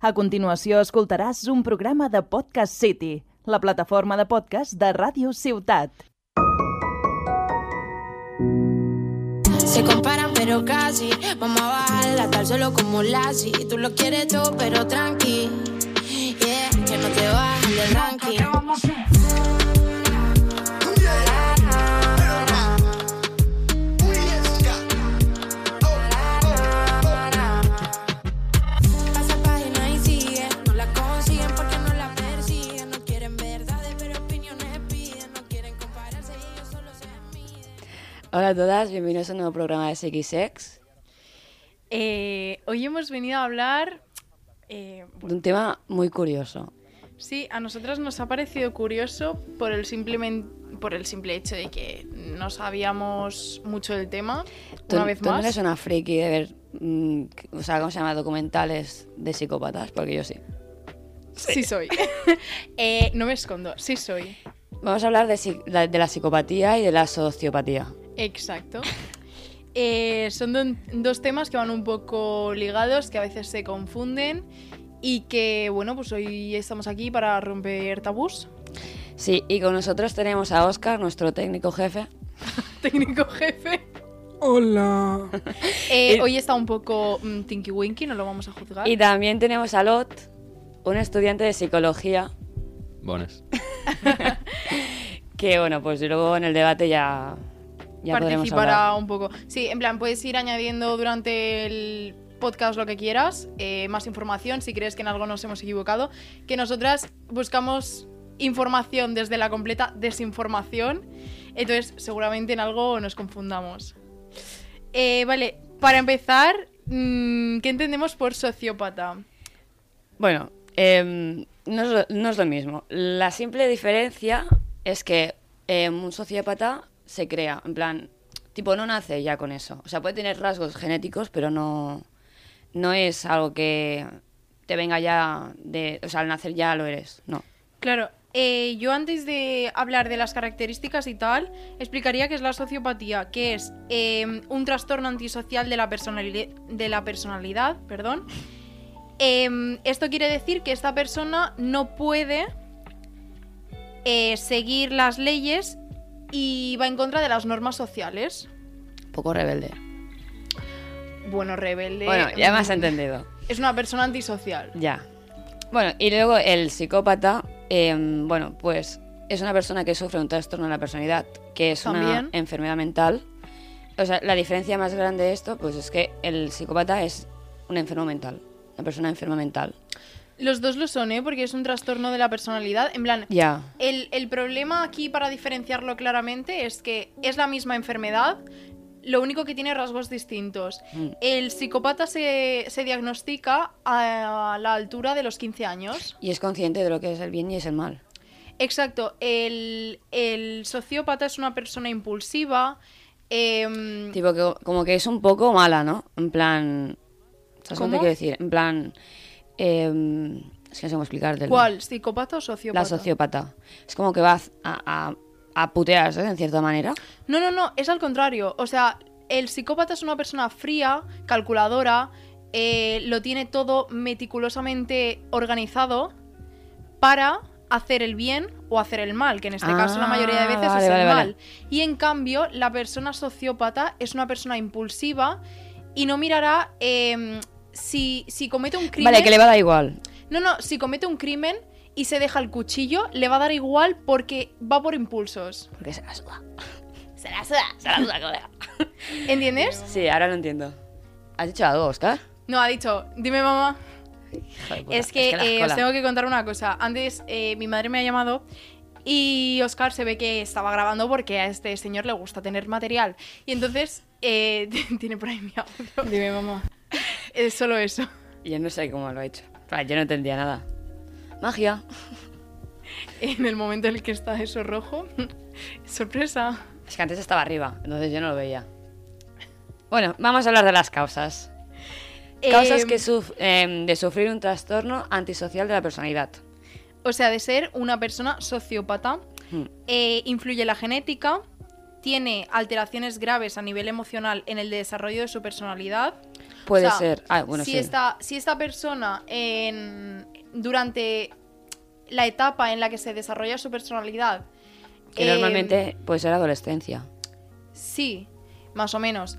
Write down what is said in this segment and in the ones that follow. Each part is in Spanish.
A continuació escoltaràs un programa de Podcast City, la plataforma de podcast de Ràdio Ciutat. Se comparan pero casi, vamos a bajarla tal solo como Lassie. Tú lo quieres todo pero tranqui, yeah, que no te bajen del ranking. Pasa página y sigue, no la consiguen porque no la persiguen. No quieren verdades pero opiniones piden, no quieren compararse y ellos solo se miden. Hola a todas, bienvenidos a un nuevo programa de SXX, Eh, hoy hemos venido a hablar. eh, de un tema muy curioso. sí, a nosotras nos ha parecido curioso por el, simplemen- por el simple hecho de que no sabíamos mucho del tema. Tú, una vez tú no más. eres una friki de ver, mm, o sea, ¿cómo se llama? Documentales de psicópatas, porque yo sí. Sí, soy. Eh, no me escondo, sí soy. Vamos a hablar de, psi- la- de la psicopatía y de la sociopatía. Exacto. Eh, son don- dos temas que van un poco ligados, que a veces se confunden. Y que, bueno, pues hoy estamos aquí para romper tabús. Sí, y con nosotros tenemos a Oscar, nuestro técnico jefe. Técnico jefe. Hola. Eh, Y- hoy está un poco mm, Tinky Winky, no lo vamos a juzgar. Y también tenemos a Lot, un estudiante de psicología, Bones. que bueno, pues luego en el debate ya, ya podremos participará hablar. un poco. Sí, en plan, puedes ir añadiendo durante el podcast lo que quieras, eh, más información si crees que en algo nos hemos equivocado, que nosotras buscamos información desde la completa desinformación, entonces seguramente en algo nos confundamos. Eh, vale, para empezar, mm, ¿qué entendemos por sociópata? Bueno, em, no, es lo, no es lo mismo. La simple diferencia es que em, un sociópata se crea, en plan, tipo, no nace ya con eso. O sea, puede tener rasgos genéticos, pero no, no es algo que te venga ya de... O sea, al nacer ya lo eres, no. Claro, eh, yo antes de hablar de las características y tal, explicaría qué es la sociopatía, que es eh, un trastorno antisocial de la, personali- de la personalidad. Perdón. Eh, esto quiere decir que esta persona no puede eh, seguir las leyes y va en contra de las normas sociales. Un poco rebelde. Bueno, rebelde. bueno, ya me has mm, entendido. Es una persona antisocial. Ya. Bueno, y luego el psicópata, em, bueno, pues es una persona que sufre un trastorno de la personalidad, que es También. una enfermedad mental. O sea, la diferencia más grande de esto, pues es que el psicópata es un enfermo mental, una persona enferma mental. Los dos lo son, ¿eh? Porque es un trastorno de la personalidad. En plan, Ya. El, el problema aquí, para diferenciarlo claramente, es que es la misma enfermedad, lo único que tiene rasgos distintos. Mm. El psicópata se, se diagnostica a la altura de los 15 años. Y es consciente de lo que es el bien y es el mal. Exacto, el, el sociópata es una persona impulsiva. em, Tipo que como que es un poco mala, ¿no? En plan... ¿Sabes lo que te ¿Cómo? quiero decir? En plan... em, es que no sé cómo explicártelo. ¿Cuál? ¿Psicópata o sociópata? La sociópata. Es como que va a, a, a putearse, en cierta manera. No, no, no, es al contrario. O sea, el psicópata es una persona fría, calculadora, eh, lo tiene todo meticulosamente organizado para hacer el bien o hacer el mal, que en este caso la mayoría de veces Ah, vale, es el vale, vale. mal. Y en cambio, la persona sociópata es una persona impulsiva y no mirará em, si, si comete un crimen. Vale, que le va a dar igual. No, no, si comete un crimen y se deja el cuchillo, le va a dar igual porque va por impulsos. Porque se la suda. Se la suda, se la suda, colega. ¿Entiendes? Sí, ahora lo entiendo. ¿Has dicho algo, Oscar? No, ha dicho, dime mamá. Joder, puta, Es que, la eh, os escuela. tengo que contar una cosa. Antes eh, mi madre me ha llamado y Oscar se ve que estaba grabando porque a este señor le gusta tener material. Y entonces eh, tiene por ahí mi audio. Dime mamá. Es solo eso. Yo no sé cómo lo ha hecho. Claro, yo no entendía nada. Magia. En el momento en el que está eso rojo. Sorpresa. Es que antes estaba arriba, entonces yo no lo veía. Bueno, vamos a hablar de las causas. Causas Em, que suf- em, de sufrir un trastorno antisocial de la personalidad. O sea, de ser una persona sociópata, Hmm. eh, influye la genética, tiene alteraciones graves a nivel emocional en el desarrollo de su personalidad, Puede O sea, ser. Ah, bueno, si sí. Esta, si esta persona en, durante la etapa en la que se desarrolla su personalidad... Que eh, normalmente puede ser adolescencia. Sí, más o menos.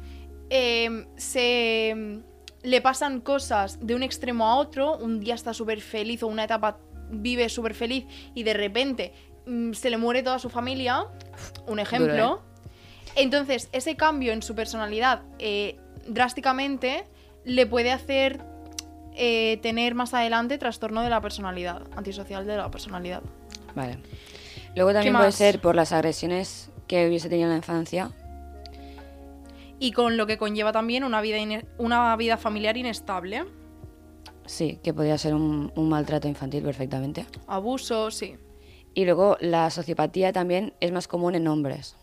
Eh, se em, le pasan cosas de un extremo a otro, un día está súper feliz o una etapa vive súper feliz y de repente mm, se le muere toda su familia, un ejemplo. Entonces, ese cambio en su personalidad eh, drásticamente le puede hacer eh, tener más adelante trastorno de la personalidad, antisocial de la personalidad. Vale. Luego también puede más? ser por las agresiones que hubiese tenido en la infancia. Y con lo que conlleva también una vida, ine- una vida familiar inestable. Sí, que podía ser un, un maltrato infantil perfectamente. Abuso, sí. Y luego la sociopatía también es más común en hombres.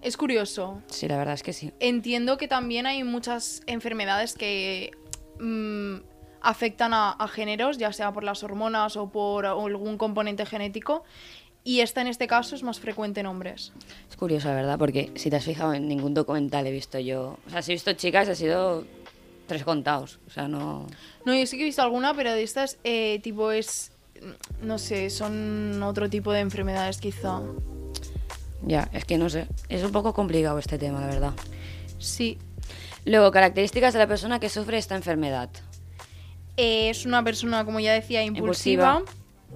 Es curioso. Sí, la verdad es que sí. Entiendo que también hay muchas enfermedades que mm, afectan a, a géneros, ya sea por las hormonas o por algún componente genético. Y esta en este caso es más frecuente en hombres. Es curioso, la verdad, porque si te has fijado en ningún documental he visto yo. O sea, si he visto chicas, he sido tres contados. O sea, no. No, yo sí que he visto alguna, pero de estas, eh, tipo, es. mm, No sé, son otro tipo de enfermedades quizá. Ya, es que no sé. Es un poco complicado este tema, la verdad. Sí. Luego, características de la persona que sufre esta enfermedad. Eh, es una persona, como ya decía, impulsiva.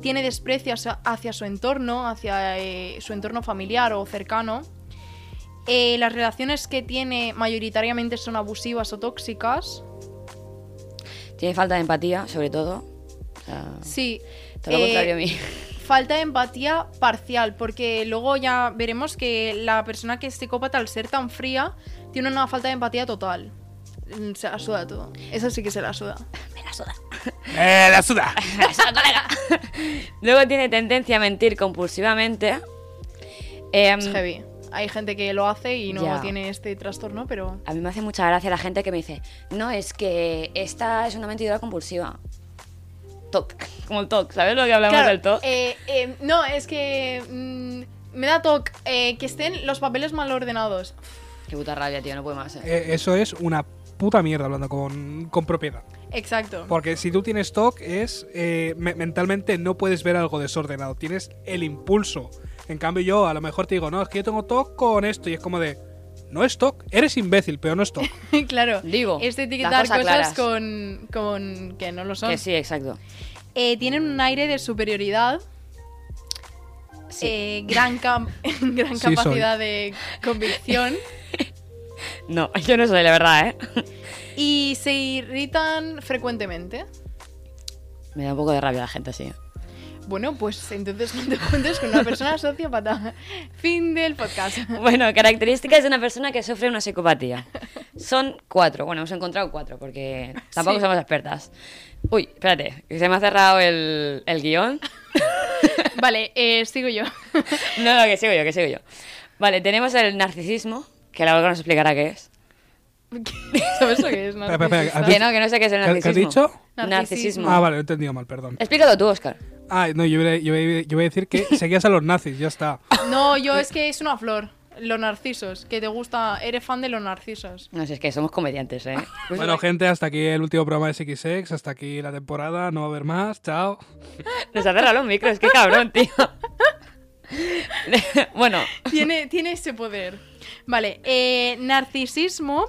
Tiene desprecio hacia, hacia su entorno, hacia eh, su entorno familiar o cercano. Eh, las relaciones que tiene mayoritariamente son abusivas o tóxicas. Tiene falta de empatía, sobre todo. O sea, Sí. todo lo eh, contrario a mí. Falta de empatía parcial, porque luego ya veremos que la persona que es psicópata, al ser tan fría, tiene una falta de empatía total. Mm, Se la suda todo. Eso sí que se la suda. ¡Eh, la suda! Luego tiene tendencia a mentir compulsivamente. Em, Es heavy. Hay gente que lo hace y no Ya. tiene este trastorno, pero. a mí me hace mucha gracia la gente que me dice, no, es que esta es una mentidora compulsiva. TOC, como el TOC, ¿sabes lo que hablamos Claro, del TOC? eh, eh, no, es que mm, me da toque que estén los papeles mal ordenados. Qué puta rabia, tío, no puedo más. eh. Eh, eso es una puta mierda hablando con, con propiedad. Exacto. Porque si tú tienes TOC es eh, me- mentalmente no puedes ver algo desordenado, tienes el impulso. En cambio yo a lo mejor te digo, no, es que yo tengo TOC con esto y es como de, no es TOC, eres imbécil, pero no es TOC. claro. Este Digo, Es de las etiquetar cosas cosas claras. con, con que no lo son. Que sí, exacto. Eh, tienen un aire de superioridad. Sí. eh, gran cam- gran Sí, soy. capacidad de convicción. No, yo no soy, la verdad, ¿eh? y se irritan frecuentemente. Me da un poco de rabia la gente así. ¿eh? Bueno, pues entonces no te juntes con una persona sociópata. Fin del podcast. Bueno, características de una persona que sufre una psicopatía. Son cuatro. Bueno, hemos encontrado cuatro porque tampoco Sí. somos expertas. Uy, espérate, que se me ha cerrado el, el guión. Vale, eh, sigo yo. No, no, que sigo yo, que sigo yo. Vale, tenemos el narcisismo, que la Olga nos explicará qué es. ¿Sabes lo que es? No? Espera, espera, espera, Que no, que no sé qué es el ¿Qué- qué has narcisismo. dicho? Narcisismo. Ah, vale, lo he entendido mal, perdón. Explícalo tú, Oscar. Ah, no, yo iba, a- yo iba a- yo iba a decir que seguías a los nazis, ya está. No, yo es que es una flor. Los narcisos, que te gusta, eres fan de los narcisos. No sé, es que somos comediantes, ¿eh? Bueno, gente, hasta aquí el último programa de XXX, hasta aquí la temporada, no va a haber más, chao. Nos ha cerrado los micros, qué cabrón, tío. bueno, Tiene, tiene ese poder. Vale, eh, narcisismo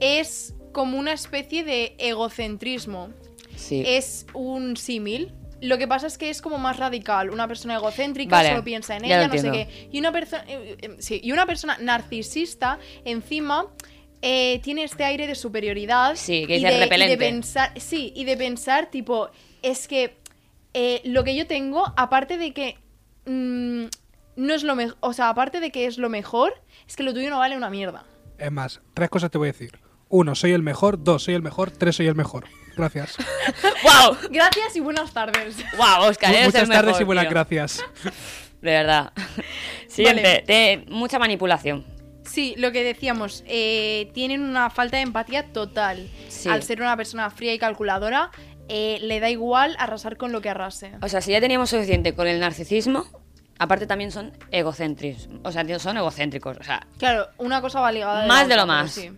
es como una especie de egocentrismo. sí. Es un símil. Lo que pasa es que es como más radical. Una persona egocéntrica Vale, solo piensa en ya lo ella, no sé entiendo. qué. Y una, persona sí, y una persona narcisista, encima, eh, tiene este aire de superioridad. Sí, que y es de, y de repelente. pensar, sí, y de pensar, tipo, es que eh, lo que yo tengo, aparte de que mm, no es lo mejor, o sea, aparte de que es lo mejor, es que lo tuyo no vale una mierda. Es más, tres cosas te voy a decir. Uno, soy el mejor, dos, soy el mejor, tres, soy el mejor. Gracias. ¡Wow! Gracias y buenas tardes. ¡Wow, Oscar! eres el Muchas tardes mejor, y buenas tío. gracias. De verdad. Siguiente. te- mucha manipulación. Sí, lo que decíamos, eh, tienen una falta de empatía total. Sí. Al ser una persona fría y calculadora, eh, le da igual arrasar con lo que arrase. O sea, si ya teníamos suficiente con el narcisismo, aparte también son egocéntricos. O sea, tío, son egocéntricos. O sea, Claro, una cosa va ligada a la Más de lo otra, pero más. sí.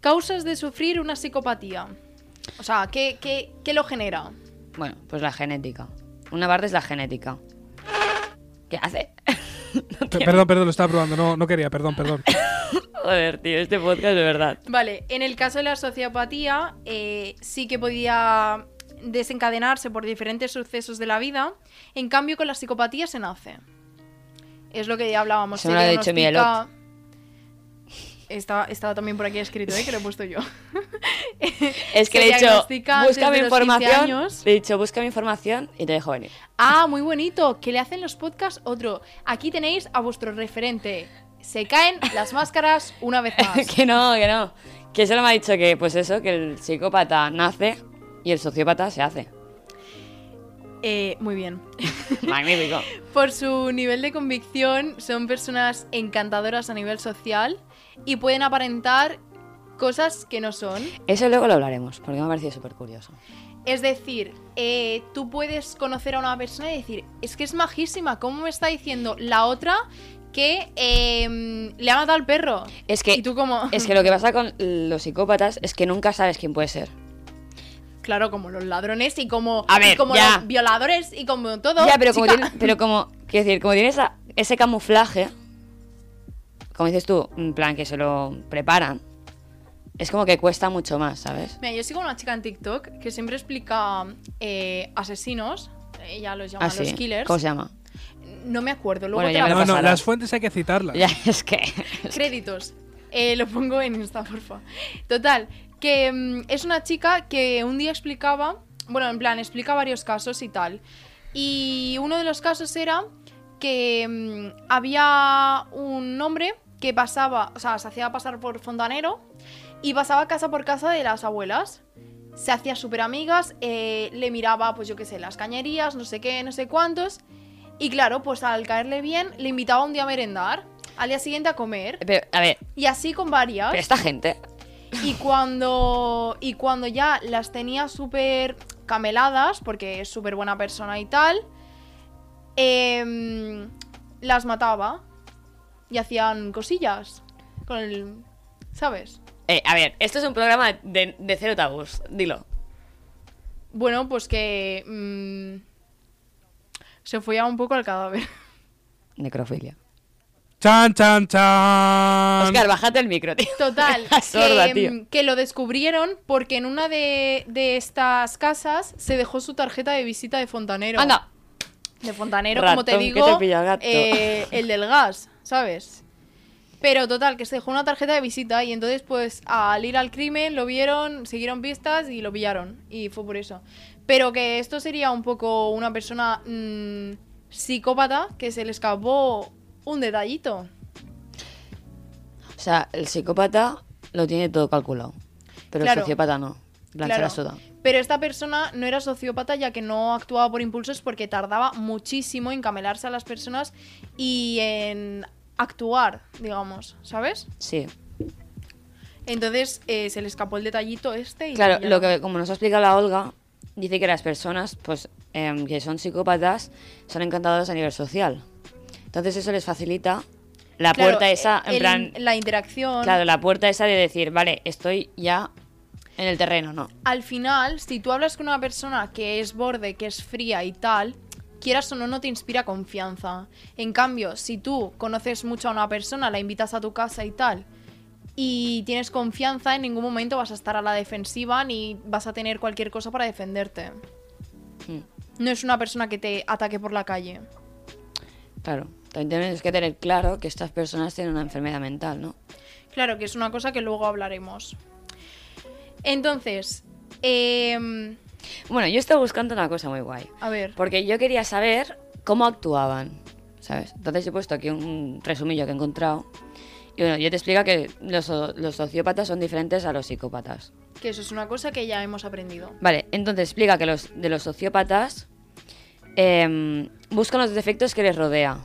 Causas de sufrir una psicopatía. O sea, ¿qué, qué, qué lo genera? Bueno, pues la genética. Una parte es la genética. ¿Qué hace? Pe- Perdón, perdón, lo estaba probando. No, no quería, perdón, perdón. Joder, tío, este podcast de verdad. Vale, en el caso de la sociopatía, eh, sí que podía desencadenarse por diferentes sucesos de la vida. En cambio, con la psicopatía se nace. Es lo que ya hablábamos. Eso se me lo ha diagnostica- dicho Miguelot. Estaba, estaba también por aquí escrito, ¿eh? que lo he puesto yo. Es que Se le he dicho, diagnostica antes busca mi de los 15 información. años. Le he dicho, busca mi información y te dejo venir. Ah, muy bonito. Que le hacen los podcasts otro. Aquí tenéis a vuestro referente. Se caen las máscaras una vez más. que no, que no. Que solo me ha dicho que, pues eso, que el psicópata nace y el sociópata se hace. Eh, muy bien. Magnífico. Por su nivel de convicción, son personas encantadoras a nivel social y pueden aparentar cosas que no son. Eso luego lo hablaremos, porque me ha parecido súper curioso. Es decir, eh, tú puedes conocer a una persona y decir, es que es majísima, ¿cómo me está diciendo la otra que eh, le ha matado al perro? Es que, Y tú como... es que lo que pasa con los psicópatas es que nunca sabes quién puede ser. Claro, como los ladrones y como, A y ver, como ya. los violadores y como todo. ya, pero como, chica. tiene- pero como, quiero decir, como tiene esa- ese camuflaje, como dices tú, en plan que se lo preparan, es como que cuesta mucho más, ¿sabes? Mira, yo sigo a una chica en TikTok que siempre explica eh, asesinos, ella los llama Así. los killers. Ah, ¿Cómo se llama? No me acuerdo, luego Bueno, te ya la me lo No, no, pasarás. las fuentes hay que citarlas. Ya, es que. Créditos. Eh, lo pongo en Insta, porfa. Total, que mm, es una chica que un día explicaba, bueno, en plan, explica varios casos y tal. Y uno de los casos era que mm, había un hombre que pasaba, o sea, se hacía pasar por fontanero y pasaba casa por casa de las abuelas. Se hacía súper amigas, eh, le miraba, pues yo qué sé, las cañerías, no sé qué, no sé cuántos. Y claro, pues al caerle bien, le invitaba un día a merendar, al día siguiente a comer, Pero, a ver, y así con varias. pero esta gente. Y cuando, y cuando ya las tenía súper cameladas, porque es súper buena persona y tal, em, las mataba y hacían cosillas con el... ¿Sabes? Eh, a ver, esto es un programa de, de cero tabús, dilo. Bueno, pues que... mm, se follaba un poco al cadáver. Necrofilia. Chan, chan, chan. Oscar, bájate el micro, tío. Total, Estás sorda, que, mm, tío. que lo descubrieron porque en una de, de estas casas se dejó su tarjeta de visita de fontanero. Anda. De fontanero, como te Ratón que digo, te pilla el gato. eh, el del gas, ¿sabes? Pero total, que se dejó una tarjeta de visita y entonces pues al ir al crimen lo vieron, siguieron pistas y lo pillaron. Y fue por eso. Pero que esto sería un poco una persona mm, psicópata que se le escapó un detallito. O sea, el psicópata lo tiene todo calculado. Pero Claro. el sociópata no. Lanza Claro. la soda. Pero esta persona no era sociópata ya que no actuaba por impulsos porque tardaba muchísimo en camelarse a las personas y en actuar, digamos, ¿sabes? Sí. Entonces eh, se le escapó el detallito este y... Claro, ya. lo que, como nos ha explicado la Olga, dice que las personas pues, em, que son psicópatas son encantadoras a nivel social. Entonces eso les facilita la Claro, eh, puerta esa, en el- plan... La interacción... Claro, la puerta esa de decir, vale, estoy ya en el terreno, ¿no? Al final, si tú hablas con una persona que es borde, que es fría y tal, quieras o no, no te inspira confianza. En cambio, si tú conoces mucho a una persona, la invitas a tu casa y tal, y tienes confianza, en ningún momento vas a estar a la defensiva ni vas a tener cualquier cosa para defenderte. Mm, No es una persona que te ataque por la calle. Claro. También tienes que tener claro que estas personas tienen una enfermedad mental, ¿no? Claro, que es una cosa que luego hablaremos. Entonces, em, Bueno, yo estaba buscando una cosa muy guay. a ver. Porque yo quería saber cómo actuaban, ¿sabes? Entonces he puesto aquí un resumillo que he encontrado. Y bueno, yo te explica que los, los sociópatas son diferentes a los psicópatas. Que eso es una cosa que ya hemos aprendido. Vale, entonces explica que los de los sociópatas em, buscan los defectos que les rodea.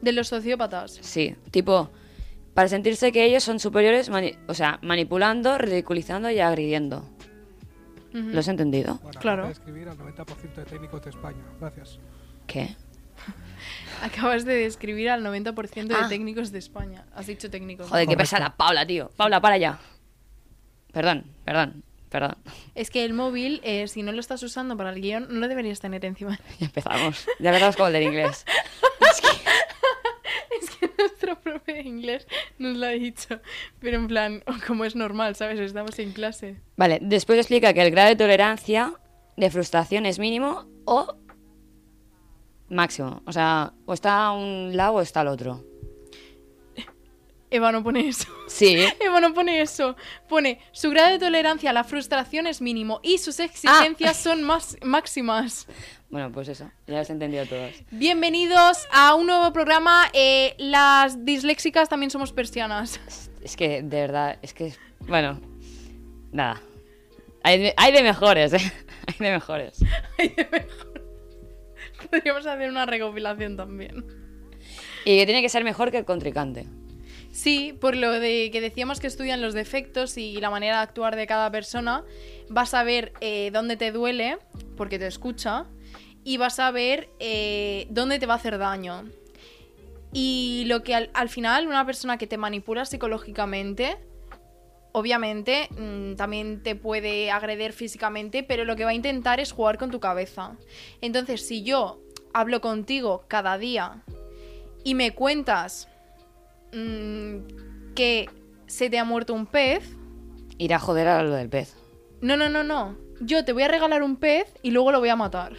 De los sociópatas. Sí, tipo, para sentirse que ellos son superiores, mani- o sea, manipulando, ridiculizando y agrediendo. Ujú. ¿Lo has entendido? Bueno, Claro. voy a escribir al 90% de técnicos de España. Gracias. ¿Qué? Acabas de describir al 90% de Ah. técnicos de España. Has dicho técnicos. ¿no? Joder, qué Correcto. pesada, Paula, tío. Paula, para ya. Perdón, perdón, perdón. Es que el móvil, eh, si no lo estás usando para el guión, no lo deberías tener encima. Ya empezamos. Ya empezamos con el del inglés. es que nuestro profe de inglés nos lo ha dicho. Pero en plan, como es normal, ¿sabes? Estamos en clase. Vale, después explica que el grado de tolerancia de frustración es mínimo o máximo. O sea, o está a un lado o está al otro. Eva no pone eso. Sí. Eva no pone eso. Pone, su grado de tolerancia a la frustración es mínimo y sus exigencias son más máximas. Bueno, pues eso. Ya las he entendido todas. Bienvenidos a un nuevo programa. eh, las disléxicas también somos persianas. Es- Es que, de verdad, es que. Bueno, nada. Hay de, hay de mejores, ¿eh? Hay de mejores. Podríamos hacer una recopilación también. Y que tiene que ser mejor que el contrincante. Sí, por lo de que decíamos que estudian los defectos y la manera de actuar de cada persona, vas a ver eh, dónde te duele, porque te escucha, y vas a ver eh, dónde te va a hacer daño. Y lo que al, al final una persona que te manipula psicológicamente, obviamente mm, también te puede agredir físicamente, pero lo que va a intentar es jugar con tu cabeza. Entonces, si yo hablo contigo cada día y me cuentas mm, que se te ha muerto un pez, Ir a joder a lo del pez. no, no, no, no. Yo te voy a regalar un pez y luego lo voy a matar.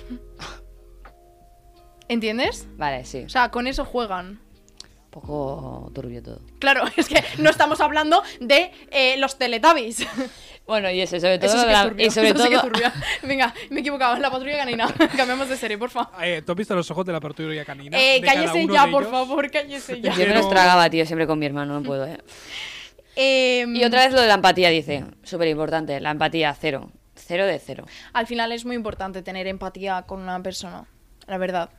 ¿Entiendes? Vale, sí. O sea, con eso juegan. Un poco turbio todo. Claro, es que no estamos hablando de eh, los Teletubbies. Bueno, y eso, sobre todo. Eso sí que es la- turbio. y sobre eso sí que es todo- turbio. Venga, me he equivocado. La patrulla canina. Cambiamos de serie, por favor. Eh, ¿Tú has visto los ojos de la apertura canina? Eh, De cada cállese uno ya, de por ellos. favor, cállese ya. Yo me los Pero- tragaba, tío, siempre con mi hermano, no puedo, ¿eh? Eh, Y otra vez lo de la empatía, dice. Súper importante. La empatía, cero. Cero de cero. Al final es muy importante tener empatía con una persona, la verdad.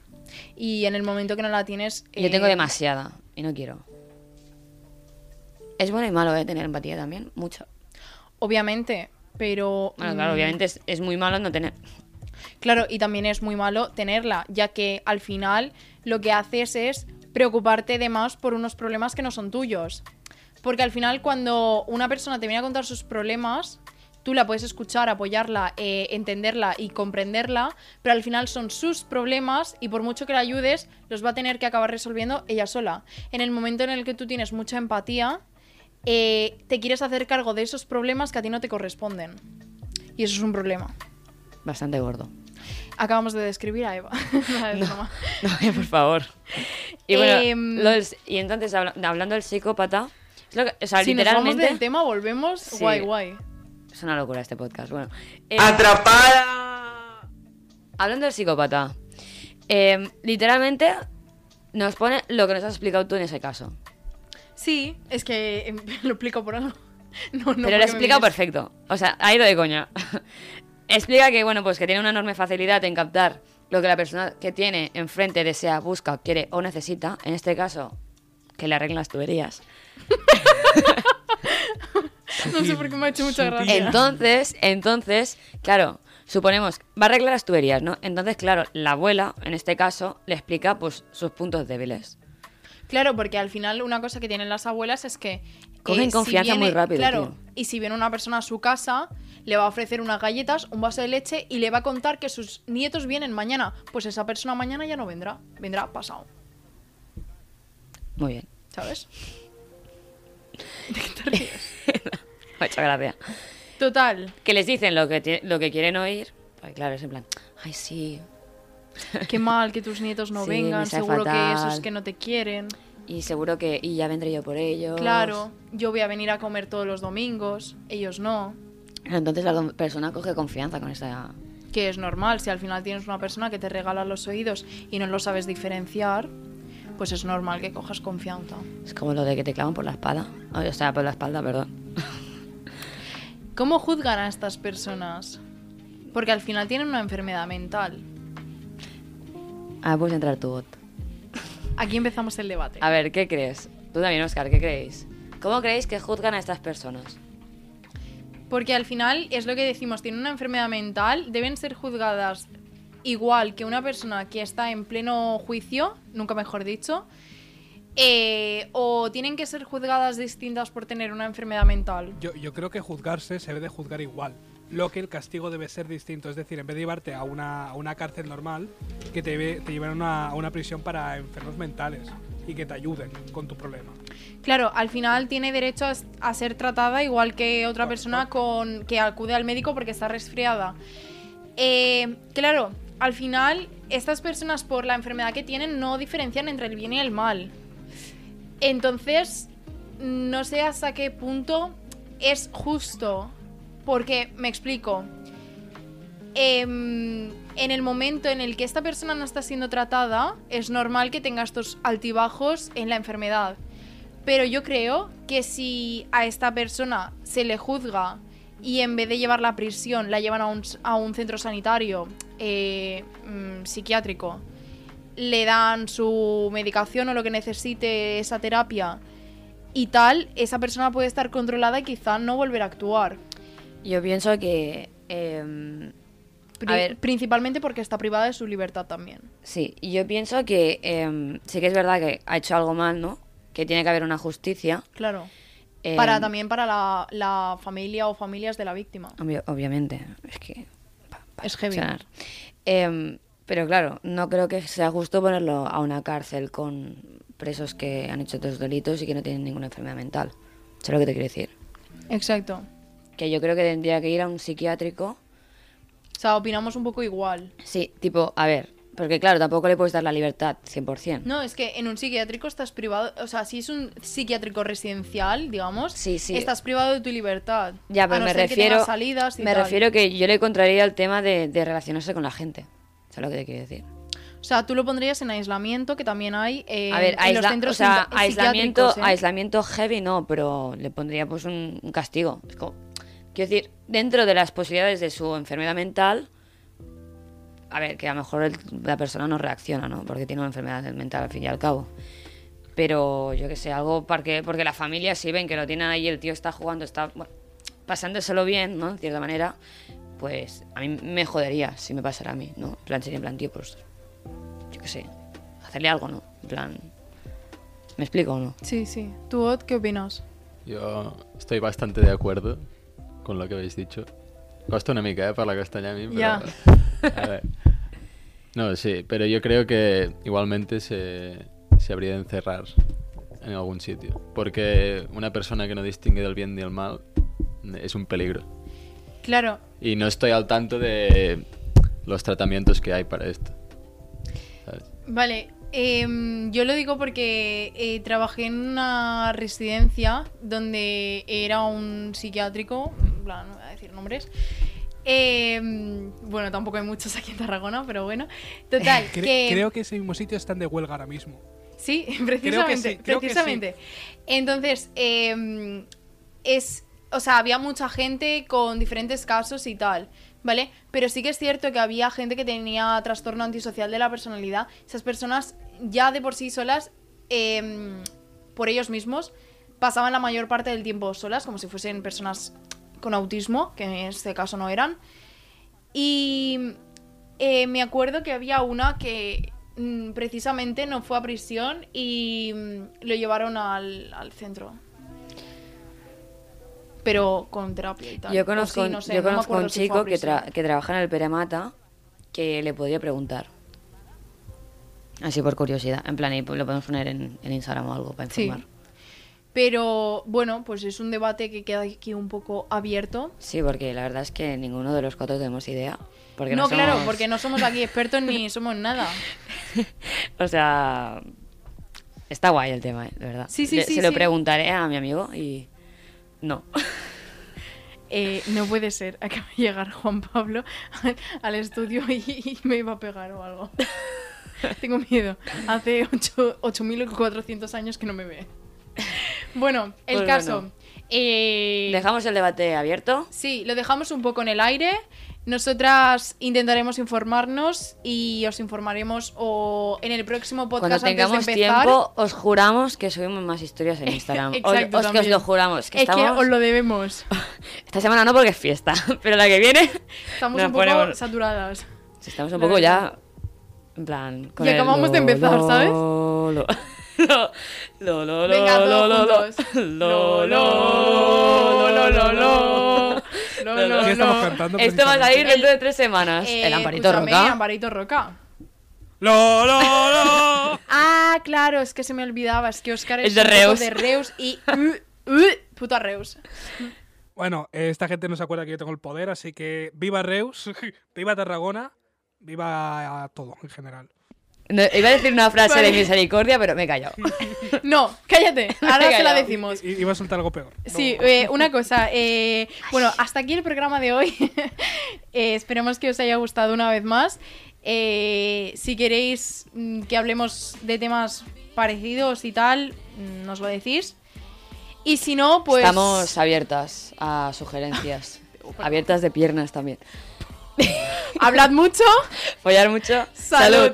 Y en el momento que no la tienes. Yo eh, tengo demasiada y no quiero. Es bueno y malo, ¿eh? Tener empatía también. Mucho. Obviamente, pero. Bueno, claro, mm, obviamente es, es muy malo no tener. Claro, y también es muy malo tenerla, ya que al final lo que haces es preocuparte de más por unos problemas que no son tuyos. Porque al final cuando una persona te viene a contar sus problemas, tú la puedes escuchar, apoyarla, eh, entenderla y comprenderla, pero al final son sus problemas y por mucho que la ayudes, los va a tener que acabar resolviendo ella sola. En el momento en el que tú tienes mucha empatía, eh, te quieres hacer cargo de esos problemas que a ti no te corresponden. Y eso es un problema. Bastante gordo. Acabamos de describir a Eva. Nada, es broma. No, eh, por favor. Y bueno, Em, lo del- y entonces habla- hablando del psicópata, es lo que- o sea, Si nos vamos literalmente del tema, volvemos. Sí. Guay, guay. es una locura este podcast. Bueno, eh, Atrapada. hablando del psicópata, em, literalmente nos pone lo que nos has explicado tú en ese caso. Sí, es que em, lo explico por algo. No, no Pero lo he porque me explicado mires. perfecto. O sea, ha ido de coña. Explica que, bueno, pues que tiene una enorme facilidad en captar lo que la persona que tiene enfrente desea, busca, quiere o necesita. En este caso, que le arreglen las tuberías. No sé por qué me ha hecho mucha Sutil. gracia. Entonces, entonces, claro, suponemos, va a arreglar las tuberías, ¿no? Entonces, claro, la abuela, en este caso, le explica pues sus puntos débiles. Claro, porque al final una cosa que tienen las abuelas es que... eh, Cogen confianza muy rápido, Claro, tío. y si viene una persona a su casa, le va a ofrecer unas galletas, un vaso de leche y le va a contar que sus nietos vienen mañana. Pues esa persona mañana ya no vendrá, vendrá pasado, Muy bien. ¿sabes? Muchas gracias. Total, Que les dicen lo que, ti- lo que quieren oír. Pues claro, es en plan, ay, sí, Qué mal que tus nietos no Sí, me vengan, sabe seguro que fatal. esos que no te quieren. y seguro que, y ya vendré yo por ellos. Claro, yo voy a venir a comer todos los domingos, ellos no. Entonces la con- persona coge confianza con esa... Que es normal, si al final tienes una persona que te regala los oídos y no lo sabes diferenciar, pues es normal que cojas confianza. Es como lo de que te clavan por la espada. O sea, por la espalda, perdón. ¿Cómo juzgan a estas personas? Porque al final tienen una enfermedad mental. Ah, puedes entrar tu bot. Aquí empezamos el debate. A ver, ¿qué crees? Tú también, Oscar, ¿qué creéis? ¿Cómo creéis que juzgan a estas personas? Porque al final es lo que decimos, tienen una enfermedad mental, deben ser juzgadas igual que una persona que está en pleno juicio, nunca mejor dicho, eh, o tienen que ser juzgadas distintas por tener una enfermedad mental. Yo, yo creo que juzgarse se debe de juzgar igual. Lo que el castigo debe ser distinto. Es decir, en vez de llevarte a una, a una cárcel normal, que te, lleve- te lleven a una, a una prisión para enfermos mentales y que te ayuden con tu problema. Claro, al final tiene derecho a, s- a ser tratada igual que otra persona con, que acude al médico porque está resfriada. Eh, claro, al final estas personas por la enfermedad que tienen no diferencian entre el bien y el mal. Entonces, no sé hasta qué punto es justo, porque me explico. Em, en el momento en el que esta persona no está siendo tratada, es normal que tenga estos altibajos en la enfermedad. Pero yo creo que si a esta persona se le juzga y en vez de llevarla a prisión la llevan a un, s- a un centro sanitario eh, mm, psiquiátrico, le dan su medicación o lo que necesite, esa terapia y tal, esa persona puede estar controlada y quizá no volver a actuar. Yo pienso que. em, Pri- a ver, Principalmente porque está privada de su libertad también. sí, yo pienso que em, sí que es verdad que ha hecho algo mal, ¿no? Que tiene que haber una justicia. Claro. em, para también para la, la familia o familias de la víctima. obvio- obviamente, es que. Es heavy. reaccionar. Em, pero claro, no creo que sea justo ponerlo a una cárcel con presos que han hecho otros delitos y que no tienen ninguna enfermedad mental. Eso es lo que te quiero decir. Exacto. Que yo creo que tendría que ir a un psiquiátrico. O sea, opinamos un poco igual. Sí, tipo, a ver, porque claro, tampoco le puedes dar la libertad 100%. No, es que en un psiquiátrico estás privado, o sea, si es un psiquiátrico residencial, digamos, Sí, sí. estás privado de tu libertad. Ya, pero a no me ser que refiero. tengas salidas y me tal. refiero que yo le contraría el tema de, de relacionarse con la gente. Eso es lo que te quiero decir. O sea, tú lo pondrías en aislamiento, que también hay eh, a ver, en los aisla- centros o sea, psiqui- aislamiento, psiquiátricos, ¿eh? aislamiento heavy no, pero le pondría pues un, un castigo. Es como- quiero decir, dentro de las posibilidades de su enfermedad mental, a ver, que a lo mejor el- la persona no reacciona, ¿no? Porque tiene una enfermedad mental al fin y al cabo. Pero yo que sé, algo porque, porque la familia sí ven que lo tienen ahí, el tío está jugando, está bueno, pasándoselo bien, ¿no? En cierta manera, pues a mí me jodería si me pasara a mí, ¿no? En plan, sería en plan, tío, pues yo qué sé, hacerle algo, ¿no? En plan, ¿me explico o no? Sí, sí. ¿Tú, Ot, qué opinas? Jo estic bastant de acuerdo con lo que habéis dicho. Costa una mica, eh, parlar castellà a mi, però... Ja. A ver. No, sí, pero yo creo que igualmente se, se habría de encerrar en algún sitio. Porque una persona que no distingue del bien ni del mal eh, es un peligro. Claro, Y no estoy al tanto de los tratamientos que hay para esto. ¿sabes? Vale, em, yo lo digo porque eh, trabajé en una residencia donde era un psiquiátrico, en plan, no voy a decir nombres. Em, bueno, tampoco hay muchos aquí en Tarragona, pero bueno. Total, Cre- que... Creo que ese mismo sitio están de huelga ahora mismo. Sí, precisamente. sí, creo que sí. precisamente. Entonces, eh, es. O sea, había mucha gente con diferentes casos y tal, ¿vale? Pero sí que es cierto que había gente que tenía trastorno antisocial de la personalidad. Esas personas ya de por sí solas, eh, por ellos mismos, pasaban la mayor parte del tiempo solas, como si fuesen personas con autismo, que en este caso no eran. Y eh, me acuerdo que había una que mm, precisamente no fue a prisión y mm, lo llevaron al, al centro. Pero con terapia y tal. Yo O conozco, sí, un- no sé, yo no me conozco acuerdo un si fue a chico que, prisión. tra- que trabaja en el Peremata que le podría preguntar. Así por curiosidad. En plan, y lo podemos poner en, en Instagram o algo para Sí. informar. Pero bueno, pues es un debate que queda aquí un poco abierto. Sí, porque la verdad es que ninguno de los cuatro tenemos idea. Porque no, no, claro, somos- porque no somos aquí expertos ni somos nada. O sea, está guay el tema, eh, de verdad. Sí, sí, Le- sí, Se lo sí. preguntaré a mi amigo y... No. Eh, no puede ser, acaba de llegar Juan Pablo al, al estudio y, y me iba a pegar o algo. Tengo miedo. Hace ocho- 8.400 años que no me ve. Bueno, el Pues caso. bueno. eh, Dejamos el debate abierto. Sí, lo dejamos un poco en el aire. Nosotras intentaremos informarnos y os informaremos o en el próximo podcast Cuando tengamos antes de empezar. tiempo, os juramos que subimos más historias en Instagram. Os- Exacto, os, que os también. lo juramos. Que es que estamos- os lo debemos. Esta semana no porque es fiesta, pero la que viene... Estamos nos un poco ponemos- saturadas. Estamos un La poco verdad. ya... En plan... Y acabamos de empezar, ¿sabes? ¿sabes? Lo, lo, lo, lo, Venga, todos lo, lo, lo. juntos. Lo, lo, lo, lo, lo, lo. Lo, Lo, lo, ¿Qué estamos lo. cantando? Esto va a precisamente? salir dentro de tres semanas. Eh, el Amparito escúchame, Roca. Amparito Roca. ¡Lo, lo, lo! Ah, claro, es que se me olvidaba, es que Oscar Es es, de un poco Reus. de Reus y... uh, uh, puto Reus. Bueno, eh, esta gente no se acuerda que yo tengo el poder, así que viva Reus, viva Tarragona, viva a todo en general. No, iba a decir una frase Vale. de misericordia, pero me he callado. No, cállate, ahora Venga, se la ya. decimos. I- iba a soltar algo peor. Sí, No. eh, una cosa. eh, bueno, hasta aquí el programa de hoy. Eh, esperemos que os haya gustado una vez más. Eh, si queréis mm, que hablemos de temas parecidos y tal, mm, nos lo decís. Y si no, pues... Estamos abiertas a sugerencias. abiertas de piernas también. Hablad mucho. Follar mucho. Salud.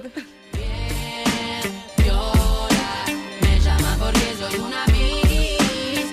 Llora, me llama porque soy una business